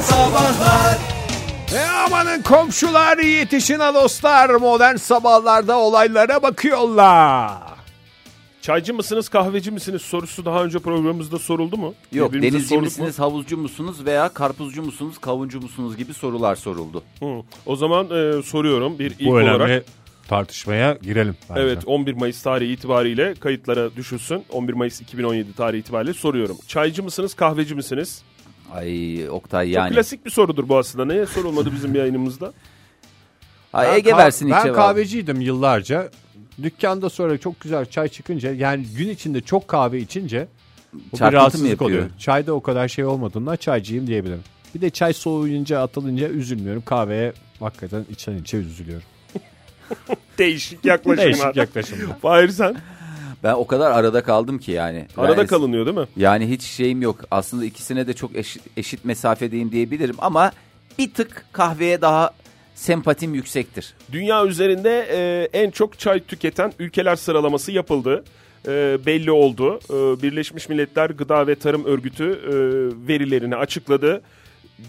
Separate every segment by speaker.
Speaker 1: Sabahlar
Speaker 2: E amanın komşular yetişin ha dostlar modern sabahlarda olaylara bakıyorlar.
Speaker 3: Çaycı mısınız kahveci misiniz sorusu daha önce programımızda soruldu mu?
Speaker 4: Yok
Speaker 3: Birbirimize
Speaker 4: denizci
Speaker 3: sorduk mu?
Speaker 4: misiniz, havuzcu musunuz veya karpuzcu musunuz, kavuncu musunuz gibi sorular soruldu.
Speaker 3: Hı. O zaman e, soruyorum bir ilk
Speaker 5: Bu önemli
Speaker 3: olarak.
Speaker 5: tartışmaya girelim. bence.
Speaker 3: Evet 11 Mayıs tarihi itibariyle kayıtlara düşülsün. 11 Mayıs 2017 tarihi itibariyle soruyorum. Çaycı mısınız kahveci misiniz?
Speaker 4: Ay Oktay yani.
Speaker 3: Klasik bir sorudur bu aslında. Neye sorulmadı bizim yayınımızda?
Speaker 4: Ha,
Speaker 5: Ben
Speaker 4: Ege
Speaker 5: kah-
Speaker 4: versin ilk
Speaker 5: Ben
Speaker 4: cevabı.
Speaker 5: kahveciydim yıllarca. Dükkanda sonra çok güzel çay çıkınca yani gün içinde çok kahve içince bu bir
Speaker 4: Çarpıntı mı
Speaker 5: rahatsızlık
Speaker 4: yapıyor?
Speaker 5: oluyor. Çayda o kadar şey olmadığından çaycıyım diyebilirim. Bir de çay soğuyunca atılınca üzülmüyorum. Kahveye hakikaten içten içe üzülüyorum.
Speaker 3: Değişik yaklaşımlar.
Speaker 5: Değişik yaklaşımlar.
Speaker 3: Fahir sen.
Speaker 4: Ben o kadar arada kaldım ki yani.
Speaker 3: Arada
Speaker 4: yani,
Speaker 3: kalınıyor değil mi?
Speaker 4: Yani hiç şeyim yok. Aslında ikisine de çok eşit, eşit mesafedeyim diyebilirim ama bir tık kahveye daha sempatim yüksektir.
Speaker 3: Dünya üzerinde e, en çok çay tüketen ülkeler sıralaması yapıldı. E, belli oldu. E, Birleşmiş Milletler Gıda ve Tarım Örgütü e, verilerini açıkladı.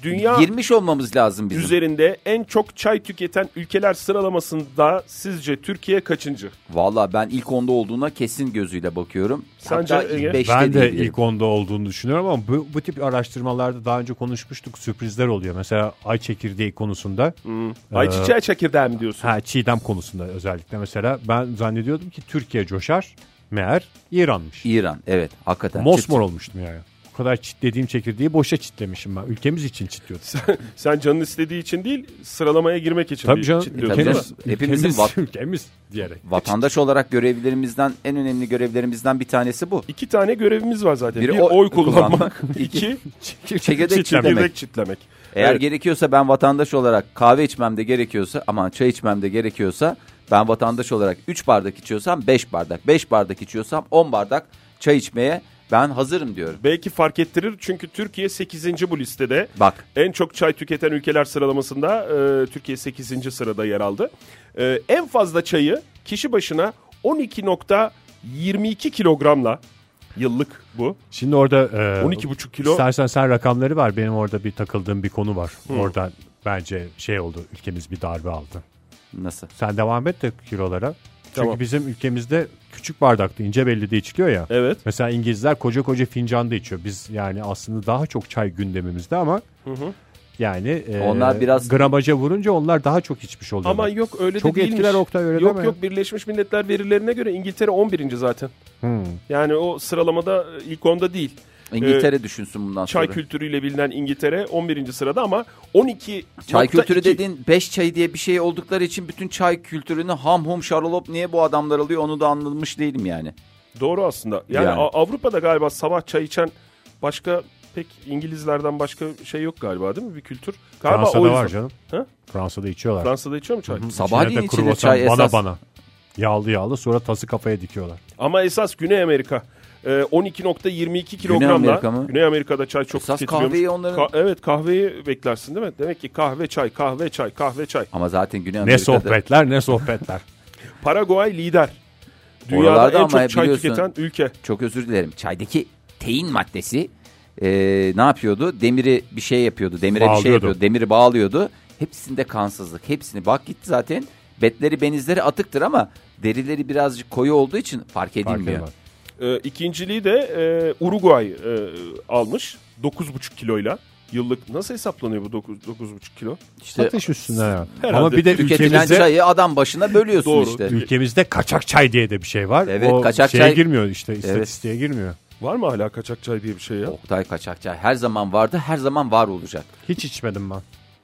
Speaker 3: Dünya
Speaker 4: Girmiş olmamız lazım bizim.
Speaker 3: üzerinde en çok çay tüketen ülkeler sıralamasında sizce Türkiye kaçıncı?
Speaker 4: Valla ben ilk onda olduğuna kesin gözüyle bakıyorum.
Speaker 3: Sence
Speaker 4: Hatta
Speaker 3: Ege?
Speaker 4: ilk beşte
Speaker 5: Ben de
Speaker 4: diyebilirim.
Speaker 5: ilk onda olduğunu düşünüyorum ama bu, bu tip araştırmalarda daha önce konuşmuştuk sürprizler oluyor. Mesela ay çekirdeği konusunda.
Speaker 4: Hmm.
Speaker 3: Ayçiçeği çekirdeği mi diyorsun?
Speaker 5: Ee, Ha çiğdem konusunda özellikle mesela ben zannediyordum ki Türkiye coşar. Meğer İran'mış.
Speaker 4: İran evet hakikaten. Çıt
Speaker 5: Mosmor
Speaker 4: çıt.
Speaker 5: olmuştum yani. O kadar çitlediğim çekirdeği boşa çitlemişim ben. Ülkemiz için çitliyordum.
Speaker 3: Sen canın istediği için değil, sıralamaya girmek için
Speaker 5: Tabii
Speaker 3: bir-
Speaker 5: canım.
Speaker 3: için diyorsun,
Speaker 4: Tabii
Speaker 5: Ülkemiz,
Speaker 3: değil mi?
Speaker 4: canım. Hepimizin
Speaker 5: ülkemiz,
Speaker 4: vat-
Speaker 5: ülkemiz diyerek.
Speaker 4: Vatandaş olarak görevlerimizden en önemli görevlerimizden bir tanesi bu.
Speaker 3: İki tane görevimiz var zaten.
Speaker 4: Biri
Speaker 3: bir
Speaker 4: oy
Speaker 3: oy kullanmak,
Speaker 4: kullanmak,
Speaker 3: iki
Speaker 4: Çekirdek çitlemek.
Speaker 3: çekirdek çitlemek.
Speaker 4: Eğer
Speaker 3: Evet.
Speaker 4: gerekiyorsa ben vatandaş olarak kahve içmem de gerekiyorsa aman çay içmem de gerekiyorsa ben vatandaş olarak 3 bardak içiyorsam 5 bardak 5 bardak içiyorsam 10 bardak çay içmeye ben hazırım diyorum.
Speaker 3: Belki fark ettirir çünkü Türkiye 8. bu listede.
Speaker 4: Bak
Speaker 3: En çok çay tüketen ülkeler sıralamasında e, Türkiye 8. sırada yer aldı. E, en fazla çayı kişi başına 12.22 kilogramla yıllık bu.
Speaker 5: Şimdi orada e,
Speaker 3: 12,5 kilo.
Speaker 5: İstersen sen rakamları var. Benim orada bir takıldığım bir konu var.
Speaker 4: Hmm.
Speaker 5: Oradan bence şey oldu. Ülkemiz bir darbe aldı.
Speaker 4: nasıl?
Speaker 5: Sen devam et de kilolara. Çünkü
Speaker 3: Tamam.
Speaker 5: bizim ülkemizde küçük bardakta ince belli de içiliyor ya.
Speaker 3: Evet.
Speaker 5: Mesela İngilizler koca koca fincanda içiyor. Biz yani aslında daha çok çay gündemimizde ama yani e,
Speaker 4: Onlar biraz-
Speaker 5: gramaja vurunca onlar daha çok içmiş oluyorlar.
Speaker 3: Ama yok öyle
Speaker 5: Çok
Speaker 3: de değilmiş.
Speaker 5: etkiler Oktay, öyle
Speaker 3: Yok
Speaker 5: deme ya.
Speaker 3: yok Birleşmiş Milletler verilerine göre İngiltere 11. zaten. Yani o sıralamada e, ilk onda değil.
Speaker 5: Ee,
Speaker 4: İngiltere düşünsün bundan
Speaker 3: Çay
Speaker 4: sonra.
Speaker 3: kültürüyle bilinen İngiltere 11. sırada ama 12
Speaker 4: Çay kültürü dediğin 5 çayı diye bir şey oldukları için bütün çay kültürünü ham hum şarolop niye bu adamlar alıyor onu da anlamış değilim yani.
Speaker 3: Doğru aslında. Yani,
Speaker 4: Yani.
Speaker 3: A- Avrupa'da galiba sabah çay içen başka pek İngilizlerden başka şey yok galiba değil mi bir kültür? Galiba o
Speaker 5: Fransa'da
Speaker 3: yüzden-
Speaker 5: var canım.
Speaker 3: Ha?
Speaker 5: Fransa'da içiyorlar.
Speaker 3: Fransa'da içiyor mu çay?
Speaker 4: Sabahleyin
Speaker 5: İçine de
Speaker 4: içilir
Speaker 5: kruvasan,
Speaker 4: çay
Speaker 5: bana
Speaker 4: esas.
Speaker 5: bana. Yağlı yağlı sonra tası kafaya dikiyorlar.
Speaker 3: Ama esas Güney Amerika. Ee, 12.22 kilogramla
Speaker 4: Amerika mı?
Speaker 3: Güney Amerika'da çay çok
Speaker 4: Esas
Speaker 3: tüketiliyormuş.
Speaker 4: kahveyi onların-
Speaker 3: Ka- evet kahveyi beklersin değil mi? Demek ki kahve çay kahve çay kahve çay.
Speaker 4: Ama zaten Güney
Speaker 5: Ne
Speaker 4: Amerika'da.
Speaker 5: sohbetler ne sohbetler.
Speaker 3: Paraguay lider. Dünyada
Speaker 4: Oralarda
Speaker 3: en
Speaker 4: ama
Speaker 3: çok çay
Speaker 4: biliyorsun-
Speaker 3: tüketen ülke.
Speaker 4: çok özür dilerim. Çaydaki tein maddesi e, ne yapıyordu? Demiri bir şey yapıyordu. Demire bir şey
Speaker 5: Bağlıyordu.
Speaker 4: yapıyordu. Demiri bağlıyordu. Hepsinde kansızlık. Hepsini bak gitti zaten. Betleri benizleri atıktır ama derileri birazcık koyu olduğu için fark
Speaker 5: Fark
Speaker 4: edilmiyor.
Speaker 5: etmez.
Speaker 3: Ee, ikinciliği de e, Uruguay e, almış 9,5 kiloyla. Yıllık nasıl hesaplanıyor bu 9 9,5 kilo?
Speaker 4: İşte
Speaker 5: Satış üstüne. ya.
Speaker 3: Herhalde
Speaker 5: Ama bir de
Speaker 4: tüketilen
Speaker 5: ülkemizde
Speaker 4: çayı adam başına bölüyorsun
Speaker 3: Doğru.
Speaker 4: işte.
Speaker 5: ülkemizde kaçak çay diye de bir şey var.
Speaker 4: Evet,
Speaker 5: o
Speaker 4: kaçak
Speaker 5: şeye
Speaker 4: çay-
Speaker 5: girmiyor işte istatistiğe girmiyor.
Speaker 3: Var mı hala kaçak çay diye bir şey ya?
Speaker 4: Oktay kaçak çay her zaman vardı, her zaman var olacak.
Speaker 5: Hiç içmedim ben.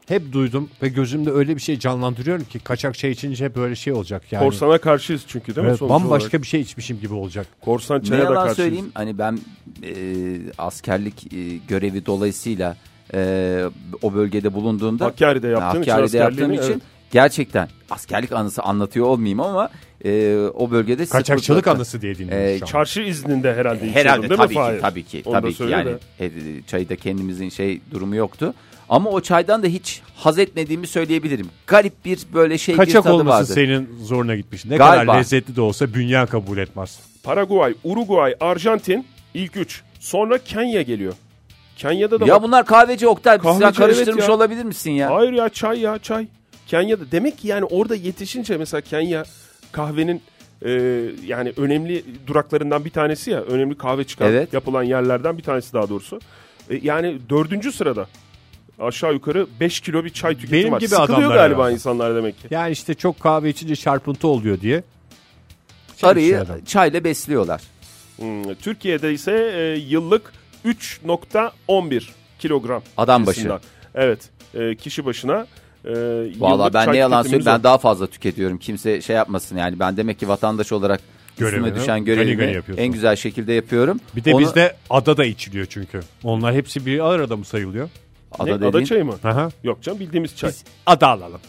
Speaker 5: Hep duydum ve gözümde öyle bir şey canlandırıyorum ki kaçak çay içince hep böyle şey olacak yani.
Speaker 3: Korsana karşıyız çünkü değil mi?
Speaker 5: Evet,
Speaker 3: sonuç
Speaker 5: bambaşka
Speaker 3: olarak?
Speaker 5: bir şey içmişim gibi olacak.
Speaker 3: Korsan
Speaker 4: Ne
Speaker 3: çaya da
Speaker 4: yalan
Speaker 3: karşıyız.
Speaker 4: söyleyeyim hani ben e, askerlik e, görevi dolayısıyla e, o bölgede bulunduğumda
Speaker 3: Hakkari'de yaptığın için
Speaker 4: Hakkari'de yaptığım
Speaker 3: askerliğini,
Speaker 4: için
Speaker 3: evet.
Speaker 4: gerçekten askerlik anısı anlatıyor olmayayım ama e, o bölgede sıfır
Speaker 5: Kaçakçılık
Speaker 4: zaten.
Speaker 5: anısı diye dinliyorum
Speaker 4: Ee,
Speaker 5: şu an.
Speaker 3: Çarşı izninde herhalde içiyordun
Speaker 4: Herhalde
Speaker 3: değil
Speaker 4: tabii
Speaker 3: mi
Speaker 4: ki,
Speaker 3: Fahir?
Speaker 4: tabii ki
Speaker 3: Onu da
Speaker 4: tabii ki
Speaker 3: söyle
Speaker 4: yani
Speaker 3: de.
Speaker 4: e, çayda kendimizin şey durumu yoktu. Ama o çaydan da hiç haz etmediğimi söyleyebilirim. Garip bir böyle şey bir
Speaker 5: Kaçak
Speaker 4: tadı
Speaker 5: olması
Speaker 4: vardı.
Speaker 5: senin zoruna gitmiş. Ne
Speaker 4: Galiba.
Speaker 5: kadar lezzetli de olsa bünyen kabul etmez.
Speaker 3: Paraguay, Uruguay, Arjantin ilk üç. Sonra Kenya geliyor. Kenya'da da
Speaker 4: Ya bunlar kahveci Oktay. Biz
Speaker 3: Kahveci,
Speaker 4: sen
Speaker 3: evet
Speaker 4: karıştırmış
Speaker 3: ya.
Speaker 4: olabilir misin ya?
Speaker 3: Hayır ya çay ya çay. Kenya'da demek ki yani orada yetişince mesela Kenya kahvenin e, yani önemli duraklarından bir tanesi ya önemli kahve çıkan
Speaker 4: Evet.
Speaker 3: yapılan yerlerden bir tanesi daha doğrusu. E, yani dördüncü sırada aşağı yukarı 5 kilo bir çay tüketimi
Speaker 5: Benim
Speaker 3: var.
Speaker 5: gibi
Speaker 3: Sıkılıyor
Speaker 5: adamlar
Speaker 3: galiba
Speaker 5: herhalde.
Speaker 3: insanlar demek ki.
Speaker 5: Yani işte çok kahve içince çarpıntı oluyor diye. Şey
Speaker 4: Arıyı
Speaker 5: adam.
Speaker 4: çayla besliyorlar.
Speaker 3: Hmm, Türkiye'de ise e, yıllık 3.11 kilogram.
Speaker 4: Adam başı.
Speaker 3: cinsinden. Evet e, kişi başına e,
Speaker 4: Valla
Speaker 3: yıllık
Speaker 4: ben
Speaker 3: çay
Speaker 4: ne yalan
Speaker 3: tüketimimiz
Speaker 4: söyleyeyim ben
Speaker 3: o.
Speaker 4: daha fazla tüketiyorum. Kimse şey yapmasın yani. Ben demek ki vatandaş olarak üstüme
Speaker 5: Görevini
Speaker 4: düşen
Speaker 5: gani gani
Speaker 4: görevimi
Speaker 5: yapıyorsun.
Speaker 4: en güzel şekilde yapıyorum.
Speaker 5: Bir de
Speaker 4: Onu-
Speaker 5: bizde adada içiliyor çünkü. Onlar hepsi bir arada mı sayılıyor?
Speaker 4: ada,
Speaker 3: Ne,
Speaker 4: dediğin-
Speaker 3: ada çayı mı?
Speaker 5: Aha.
Speaker 3: Yok canım bildiğimiz çay.
Speaker 5: Biz ada alalım.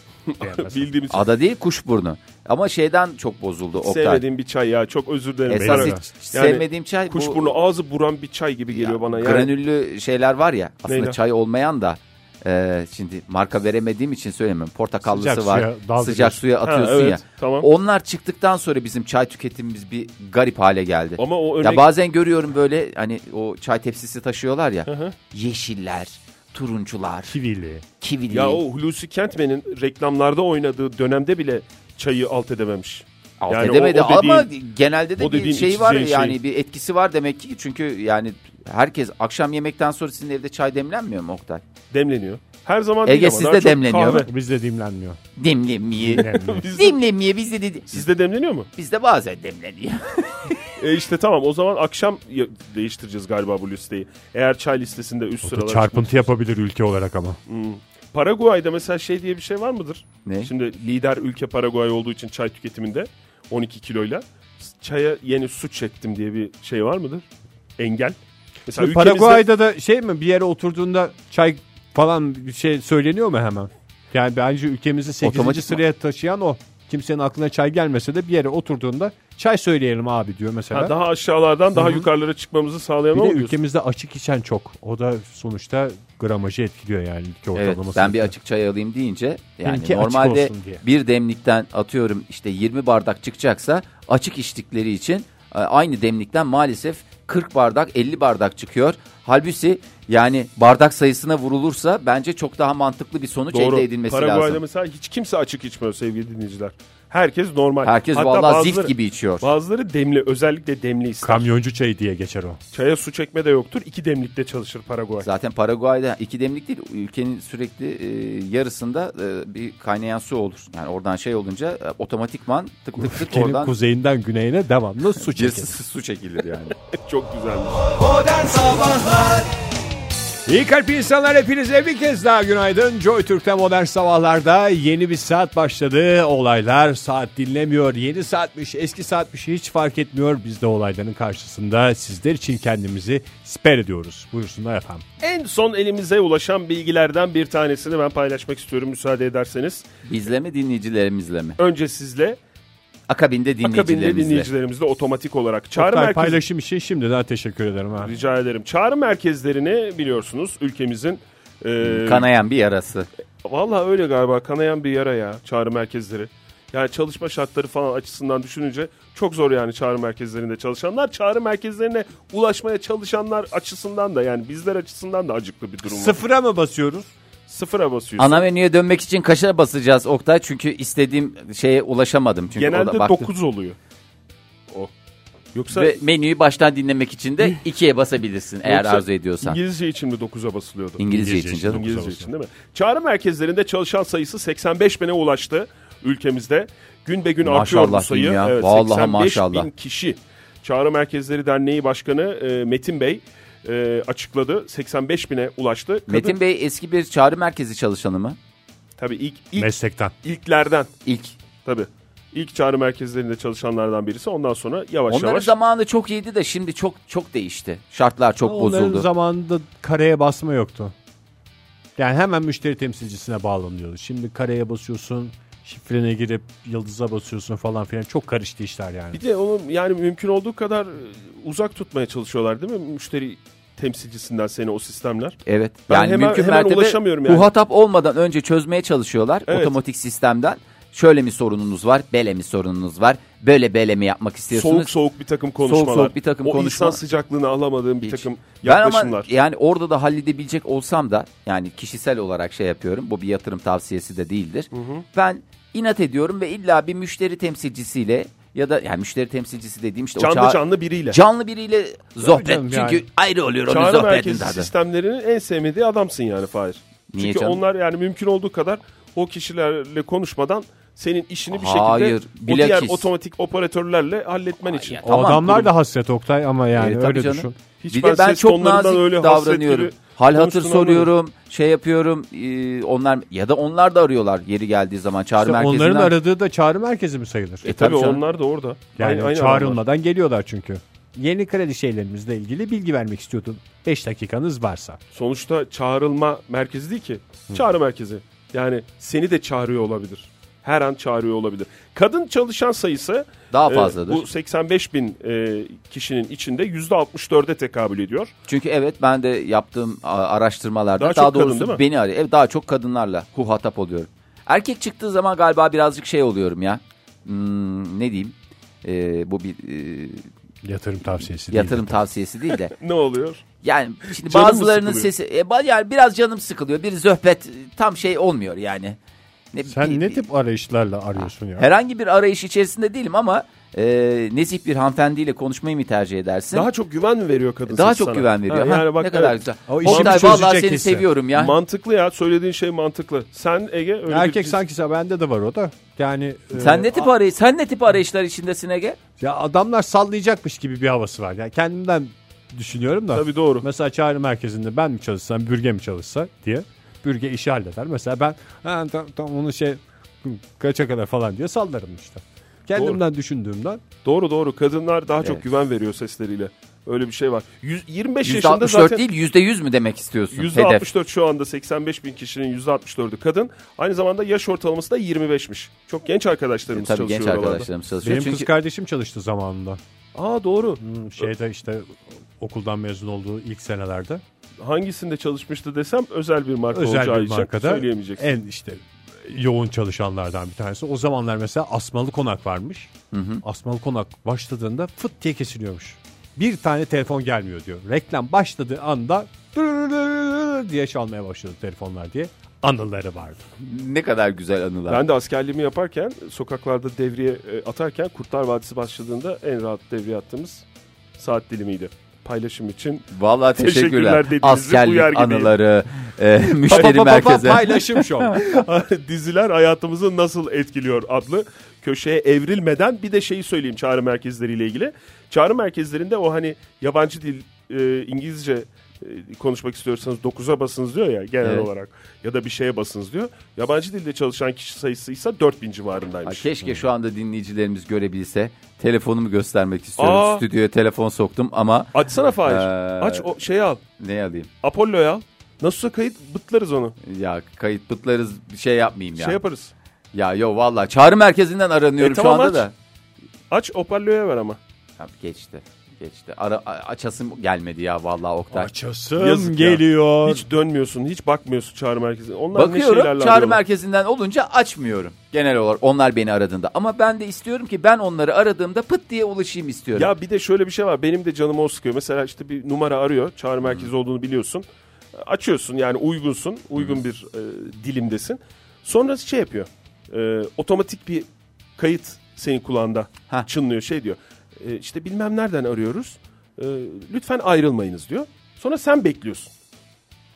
Speaker 3: bildiğimiz çay.
Speaker 4: ada değil kuşburnu. Ama şeyden çok bozuldu Oktay.
Speaker 3: Sevmediğim bir çay ya. Çok özür dilerim.
Speaker 4: Esas
Speaker 3: Ben-
Speaker 5: öyle.
Speaker 4: hiç
Speaker 3: Yani
Speaker 4: sevmediğim çay bu-
Speaker 3: Kuşburnu ağzı buran bir çay gibi geliyor bana. Yani
Speaker 4: Granüllü şeyler var ya aslında
Speaker 3: Neyle?
Speaker 4: çay olmayan da e, şimdi marka veremediğim için söylemiyorum. Portakallısı
Speaker 5: Sıcak
Speaker 4: var.
Speaker 5: suya daldırıyorsun.
Speaker 4: sıcak suya atıyorsun
Speaker 3: Ha, evet,
Speaker 4: ya.
Speaker 3: tamam.
Speaker 4: Onlar çıktıktan sonra bizim çay tüketimimiz bir garip hale geldi.
Speaker 3: Ama o örnek
Speaker 4: Ya bazen görüyorum böyle hani o çay tepsisi taşıyorlar ya.
Speaker 3: hı.
Speaker 4: Yeşiller, turuncular,
Speaker 5: Kivili.
Speaker 4: kivili.
Speaker 3: ya o Hulusi Kentmen'in reklamlarda oynadığı dönemde bile çayı alt edememiş.
Speaker 4: Alt
Speaker 3: yani o-
Speaker 4: edemedi
Speaker 3: o dediğin-
Speaker 4: ama genelde
Speaker 3: o
Speaker 4: de bir
Speaker 3: dediğin
Speaker 4: şey
Speaker 3: iç
Speaker 4: var
Speaker 3: düzey
Speaker 4: yani
Speaker 3: şey.
Speaker 4: bir etkisi var demek ki. Çünkü yani herkes akşam yemekten sonra sizin evde çay demlenmiyor mu Oktay?
Speaker 3: Demleniyor. Her zaman
Speaker 4: Ege
Speaker 3: değil ama
Speaker 4: sizde
Speaker 3: daha çok
Speaker 4: demleniyor
Speaker 3: kahve.
Speaker 4: mu?
Speaker 5: Bizde dimlenmiyor.
Speaker 4: Demlenmiyor.
Speaker 3: Bizde,
Speaker 4: demlenmiyor bizde de,
Speaker 3: sizde demleniyor mu?
Speaker 4: bizde bazen demleniyor.
Speaker 3: E işte tamam o zaman akşam ya- değiştireceğiz galiba bu listeyi. Eğer çay listesinde üst sıralara
Speaker 5: Çarpıntı yapabilir ülke olarak ama.
Speaker 3: Paraguay'da mesela şey diye bir şey var mıdır?
Speaker 4: Ne?
Speaker 3: Şimdi lider ülke Paraguay olduğu için çay tüketiminde 12 kiloyla çaya yeni su çektim diye bir şey var mıdır? Engel. Mesela ülkemizde-
Speaker 5: Paraguay'da da şey mi bir yere oturduğunda çay falan bir şey söyleniyor mu hemen? Yani bence ülkemizi 8.
Speaker 4: Otomatik
Speaker 5: sıraya taşıyan o. Kimsenin aklına çay gelmese de bir yere oturduğunda çay söyleyelim abi diyor mesela.
Speaker 3: Ha, daha aşağılardan daha yukarılara çıkmamızı
Speaker 5: bir
Speaker 3: sağlayan
Speaker 5: de
Speaker 3: o diyorsun.
Speaker 5: ülkemizde açık içen çok. O da sonuçta gramajı etkiliyor yani ülke
Speaker 4: Evet
Speaker 5: ortalaması.
Speaker 4: ben bir açık çay alayım deyince yani
Speaker 5: Benimki açık
Speaker 4: normalde
Speaker 5: olsun diye.
Speaker 4: bir demlikten atıyorum işte 20 bardak çıkacaksa açık içtikleri için e, aynı demlikten maalesef 40 bardak 50 bardak çıkıyor. Halbuki yani bardak sayısına vurulursa bence çok daha mantıklı bir sonuç
Speaker 3: Doğru.
Speaker 4: elde edilmesi
Speaker 3: Paraguay'da
Speaker 4: lazım.
Speaker 3: mesela hiç kimse açık içmiyor sevgili dinleyiciler. Herkes normal.
Speaker 4: Herkes
Speaker 3: Hatta
Speaker 4: vallahi
Speaker 3: bazıları-
Speaker 4: zift gibi içiyor.
Speaker 3: Bazıları demli özellikle demli ister.
Speaker 5: Kamyoncu çayı diye geçer o.
Speaker 3: Çaya su çekme de yoktur. İki demlikte çalışır Paraguay.
Speaker 4: Zaten Paraguay'da iki demlik değil ülkenin sürekli e, yarısında e, bir kaynayan su olur. Yani oradan şey olunca e, otomatikman tık tık tık
Speaker 5: Ülkenin
Speaker 4: oradan
Speaker 5: kuzeyinden güneyine devamlı su
Speaker 4: bir
Speaker 5: çeker.
Speaker 4: s- su çekilir yani.
Speaker 3: Çok güzelmiş.
Speaker 5: İyi kalp insanlar hepinize bir kez daha günaydın. Joy Türk'te modern sabahlarda yeni bir saat başladı. Olaylar saat dinlemiyor. Yeni saatmiş, eski saatmiş hiç fark etmiyor. Biz de olayların karşısında sizler için kendimizi siper ediyoruz. Buyursunlar efendim.
Speaker 3: En son elimize ulaşan bilgilerden bir tanesini ben paylaşmak istiyorum müsaade ederseniz.
Speaker 4: Bizle mi dinleyicilerimizle mi?
Speaker 3: Önce sizle
Speaker 4: Akabinde
Speaker 3: akabinde
Speaker 4: dinleyicilerimizle.
Speaker 3: dinleyicilerimizle otomatik olarak çağrı
Speaker 5: Oktay,
Speaker 3: merkezi
Speaker 5: paylaşım için şimdiden teşekkür ederim. Ha.
Speaker 3: rica ederim. Çağrı merkezlerini biliyorsunuz ülkemizin e,
Speaker 4: Kanayan bir yarası.
Speaker 3: Valla öyle galiba kanayan bir yara ya çağrı merkezleri. Yani çalışma şartları falan açısından düşününce çok zor yani çağrı merkezlerinde çalışanlar. Çağrı merkezlerine ulaşmaya çalışanlar açısından da yani bizler açısından da acıklı bir durum var.
Speaker 5: Sıfıra mı basıyoruz?
Speaker 3: Sıfıra basıyorsun.
Speaker 4: Ana menüye dönmek için kaşa basacağız Oktay çünkü istediğim şeye ulaşamadım. Çünkü orada
Speaker 3: Genelde
Speaker 4: baktım.
Speaker 3: 9 oluyor. O. Yoksa
Speaker 4: Ve menüyü baştan dinlemek için de ikiye basabilirsin eğer
Speaker 3: Yoksa
Speaker 4: arzu ediyorsan.
Speaker 3: İngilizce için mi 9'a basılıyordu?
Speaker 4: İngilizce,
Speaker 5: İngilizce
Speaker 4: için
Speaker 5: için.
Speaker 4: canım.
Speaker 3: İngilizce
Speaker 5: dokuza
Speaker 3: için değil mi? Çağrı merkezlerinde çalışan sayısı 85 bine ulaştı ülkemizde. Gün be gün artıyor bu
Speaker 4: Maşallah
Speaker 3: sayı.
Speaker 4: diyeyim ya. Vallahi
Speaker 3: 85
Speaker 4: maşallah.
Speaker 3: bin kişi. Çağrı Merkezleri Derneği Başkanı e, Metin Bey e, açıkladı. 85 bine ulaştı. Kadın,
Speaker 4: Metin Bey eski bir çağrı merkezi çalışanı mı?
Speaker 3: Tabii ilk, ilk
Speaker 5: Meslekten.
Speaker 3: ilklerden
Speaker 4: İlk.
Speaker 3: tabii. İlk çağrı merkezlerinde çalışanlardan birisi. Ondan sonra yavaş
Speaker 4: Onların
Speaker 3: yavaş.
Speaker 4: zamanı çok iyiydi de şimdi çok çok değişti. Şartlar çok
Speaker 5: Onların
Speaker 4: bozuldu.
Speaker 5: zamanında kareye basma yoktu. Yani hemen müşteri temsilcisine bağlanıyordu. Şimdi kareye basıyorsun, şifrene girip yıldıza basıyorsun falan filan. Çok karıştı işler yani.
Speaker 3: Bir de onu yani mümkün olduğu kadar e, uzak tutmaya çalışıyorlar değil mi? Müşteri temsilcisinden seni o sistemler.
Speaker 4: Evet.
Speaker 3: Ben
Speaker 4: yani
Speaker 3: hemen-
Speaker 4: mümkün
Speaker 3: hemen
Speaker 4: mertebe
Speaker 3: ulaşamıyorum yani.
Speaker 4: bu hatap olmadan önce çözmeye çalışıyorlar
Speaker 3: Evet.
Speaker 4: otomatik sistemden. şöyle mi sorununuz var, böyle mi sorununuz var, böyle böyle mi yapmak istiyorsunuz?
Speaker 3: Soğuk soğuk bir takım konuşmalar.
Speaker 4: soğuk bir takım
Speaker 3: o
Speaker 4: konuşma-
Speaker 3: insan sıcaklığını alamadığım
Speaker 4: Hiç.
Speaker 3: bir takım
Speaker 4: Ben ama e,
Speaker 3: yaklaşımlar.
Speaker 4: yani orada da halledebilecek olsam da yani kişisel olarak şey yapıyorum. Bu bir yatırım tavsiyesi de değildir. Ben inat ediyorum ve illa bir müşteri temsilcisiyle ya da yani müşteri temsilcisi dediğim işte o
Speaker 3: Canlı
Speaker 4: çağ-
Speaker 3: canlı biriyle.
Speaker 4: canlı biriyle sohbet.
Speaker 5: canım yani.
Speaker 4: Çünkü ayrı oluyor onun
Speaker 3: Çağrı merkezi
Speaker 4: sohbetinden. de.
Speaker 3: sistemlerinin en sevmediği adamsın yani Fahir.
Speaker 4: Niye
Speaker 3: Çünkü
Speaker 4: canım?
Speaker 3: onlar yani mümkün olduğu kadar o kişilerle konuşmadan senin işini bir
Speaker 4: Hayır,
Speaker 3: şekilde o
Speaker 4: bilakis.
Speaker 3: diğer otomatik operatörlerle halletmen için.
Speaker 4: ya,
Speaker 5: O
Speaker 4: Tamam,
Speaker 5: adamlar
Speaker 4: kurum-
Speaker 5: da hasret Oktay ama yani
Speaker 4: Evet, tabii
Speaker 5: öyle
Speaker 4: canım.
Speaker 5: düşün.
Speaker 3: Hiç
Speaker 4: bir
Speaker 3: ben
Speaker 4: de ben
Speaker 3: ses
Speaker 4: çok
Speaker 3: tonlarından
Speaker 4: nazik
Speaker 3: öyle hasret
Speaker 4: davranıyorum.
Speaker 3: gibi
Speaker 4: Hal hatır
Speaker 3: konuştuğunu
Speaker 4: soruyorum, şey yapıyorum. Ee, onlar ya da onlar da arıyorlar yeri geldiği zaman çağrı
Speaker 5: İşte
Speaker 4: merkezinden.
Speaker 5: onların aradığı da çağrı merkezi mi sayılır?
Speaker 3: E tabii
Speaker 4: Tabii canım.
Speaker 3: onlar da orada.
Speaker 5: Yani
Speaker 3: Aynı- aynı adamlar.
Speaker 5: çağrılmadan geliyorlar çünkü. Yeni kredi şeylerimizle ilgili bilgi vermek istiyordun. 5 dakikanız varsa.
Speaker 3: Sonuçta çağrılma merkezi değil ki. Çağrı merkezi. Yani seni de çağırıyor olabilir. Her an çağırıyor olabilir. Kadın çalışan sayısı
Speaker 4: Daha
Speaker 3: e,
Speaker 4: fazladır.
Speaker 3: bu 85 bin e, kişinin içinde %64'e tekabül ediyor.
Speaker 4: Çünkü evet ben de yaptığım a- araştırmalarda
Speaker 3: Daha
Speaker 4: daha,
Speaker 3: çok kadın
Speaker 4: doğrusu
Speaker 3: değil mi?
Speaker 4: beni arıyor. Evet, daha çok kadınlarla huhatap oluyorum. Erkek çıktığı zaman galiba birazcık şey oluyorum ya. Hmm, ne diyeyim? Ee, bu bir e,
Speaker 5: Yatırım tavsiyesi
Speaker 4: yatırım tavsiyesi değil de.
Speaker 3: Ne oluyor?
Speaker 4: Yani şimdi
Speaker 3: Canım mı
Speaker 4: bazılarının
Speaker 3: sıkılıyor?
Speaker 4: sesi e, ba- yani biraz canım sıkılıyor. Bir zöhbet e, tam şey olmuyor yani. Ne,
Speaker 5: Sen
Speaker 4: bir-
Speaker 5: ne
Speaker 4: bir-
Speaker 5: tip arayışlarla arıyorsun ya?
Speaker 4: Herhangi bir arayış içerisinde değilim ama e, nezih bir hanımefendiyle konuşmayı mı tercih edersin?
Speaker 3: Daha çok güven mi veriyor kadın
Speaker 4: Daha
Speaker 3: sesi
Speaker 4: çok
Speaker 3: sana?
Speaker 4: güven veriyor.
Speaker 3: Ha,
Speaker 4: Ha,
Speaker 3: yani bak,
Speaker 4: ne kadar
Speaker 3: evet.
Speaker 4: güzel.
Speaker 5: O işi
Speaker 4: Oktay
Speaker 5: çözecek
Speaker 4: vallahi seni
Speaker 5: hissi.
Speaker 4: seviyorum ya.
Speaker 3: Mantıklı ya. Söylediğin şey mantıklı. Sen Ege öyle
Speaker 5: Erkek
Speaker 3: bir-
Speaker 5: sanki sen- bende de var o da. Yani e,
Speaker 4: Sen ne tip arayış sen ne tip arayışlar içindesin Ege?
Speaker 5: ya adamlar sallayacakmış gibi bir havası var. Yani kendimden düşünüyorum da.
Speaker 3: Tabii doğru.
Speaker 5: Mesela çağrı merkezinde ben mi çalışsam, bürge mi çalışsa diye. Bürge işi halleder. Mesela ben ha, tam, tam onu şey kaça kadar falan diye sallarım işte. Kendimden düşündüğümden
Speaker 3: Doğru doğru. Kadınlar daha çok
Speaker 4: Evet.
Speaker 3: güven veriyor sesleriyle. Öyle bir şey var. Yüz- 25 yaşında
Speaker 4: 164
Speaker 3: zaten
Speaker 4: değil %100 mü demek istiyorsun? Hedef.
Speaker 3: %64 şu anda 85 bin kişinin %64'ü kadın. Aynı zamanda yaş ortalaması da 25'miş. Çok genç arkadaşlarımız
Speaker 4: E, Tabii
Speaker 3: çalışıyor
Speaker 4: genç
Speaker 3: oralarda.
Speaker 4: arkadaşlarım
Speaker 3: Şey,
Speaker 4: çalışıyor.
Speaker 5: benim
Speaker 4: Çünkü
Speaker 5: kız kardeşim çalıştı zamanında.
Speaker 3: Aa doğru.
Speaker 5: Hmm, Şeyde işte okuldan mezun olduğu ilk senelerde.
Speaker 3: Hangisinde çalışmıştı desem özel bir marka
Speaker 5: özel
Speaker 3: olacağı
Speaker 5: bir
Speaker 3: için
Speaker 5: markada E,
Speaker 3: söyleyemeyeceksin.
Speaker 5: en işte yoğun çalışanlardan bir tanesi. O zamanlar mesela Asmalı Konak varmış. Asmalı Konak başladığında fıt diye kesiliyormuş. Bir tane telefon gelmiyor diyor. Reklam başladığı anda dırırırırır diye çalmaya başladı telefonlar diye anıları vardı.
Speaker 4: ne kadar güzel anılar.
Speaker 3: Ben de askerliğimi yaparken sokaklarda devriye e, atarken Kurtlar Vadisi başladığında en rahat devriye attığımız saat dilimiydi. Paylaşım için
Speaker 4: Vallahi
Speaker 3: Teşekkürler
Speaker 4: teşekkürler.
Speaker 3: dediğinizi uyar
Speaker 4: Askerlik
Speaker 3: gibiyim.
Speaker 4: anıları, e,
Speaker 5: Pa, pa, pa,
Speaker 4: müşteri
Speaker 5: pa,
Speaker 4: merkezi.
Speaker 5: paylaşım şov.
Speaker 3: diziler hayatımızı nasıl etkiliyor adlı köşeye evrilmeden bir de şeyi söyleyeyim çağrı merkezleriyle ilgili. Çağrı merkezlerinde o hani yabancı dil e, İngilizce e, konuşmak istiyorsanız 9'a basınız diyor ya genel
Speaker 4: Evet.
Speaker 3: olarak ya da bir şeye basınız diyor. Yabancı dilde çalışan kişi sayısı ise 4000
Speaker 4: Ha,
Speaker 3: civarındaymış.
Speaker 4: Keşke şu anda dinleyicilerimiz görebilse. Telefonumu göstermek istiyorum.
Speaker 3: Aa.
Speaker 4: Stüdyoya telefon soktum ama
Speaker 3: Açsana Fahir.
Speaker 4: Ee,
Speaker 3: Aç o şeyi al.
Speaker 4: ne alayım?
Speaker 3: Apollo'ya al. Nasılsa kayıt bıtlarız onu.
Speaker 4: Ya kayıt bıtlarız bir şey yapmayayım ya.
Speaker 3: Şey yaparız.
Speaker 4: ya yo vallahi çağrı merkezinden aranıyorum
Speaker 3: E, tamam,
Speaker 4: şu anda
Speaker 3: aç.
Speaker 4: da.
Speaker 3: Aç hoparlöre ver ama.
Speaker 4: Ya, geçti. Geçti. Ara, a- açasım gelmedi ya vallahi Oktay.
Speaker 5: Açasım
Speaker 3: Yazık ya.
Speaker 5: geliyor.
Speaker 3: Hiç dönmüyorsun, hiç bakmıyorsun çağrı merkezine. Onlar ne
Speaker 4: Bakıyorum
Speaker 3: şeylerle
Speaker 4: çağrı
Speaker 3: arıyorlar?
Speaker 4: merkezinden olunca açmıyorum. Genel olarak onlar beni aradığında. Ama ben de istiyorum ki ben onları aradığımda pıt diye ulaşayım istiyorum.
Speaker 3: Ya bir de şöyle bir şey var. Benim de canımı o sıkıyor. Mesela işte bir numara arıyor. Çağrı merkezi olduğunu biliyorsun. Açıyorsun yani uygunsun. Uygun bir e, dilimdesin. Sonra şey yapıyor. E, otomatik bir kayıt senin kulağında
Speaker 4: Heh.
Speaker 3: çınlıyor. Şey diyor. E, işte bilmem nereden arıyoruz. E, lütfen ayrılmayınız diyor. Sonra sen bekliyorsun.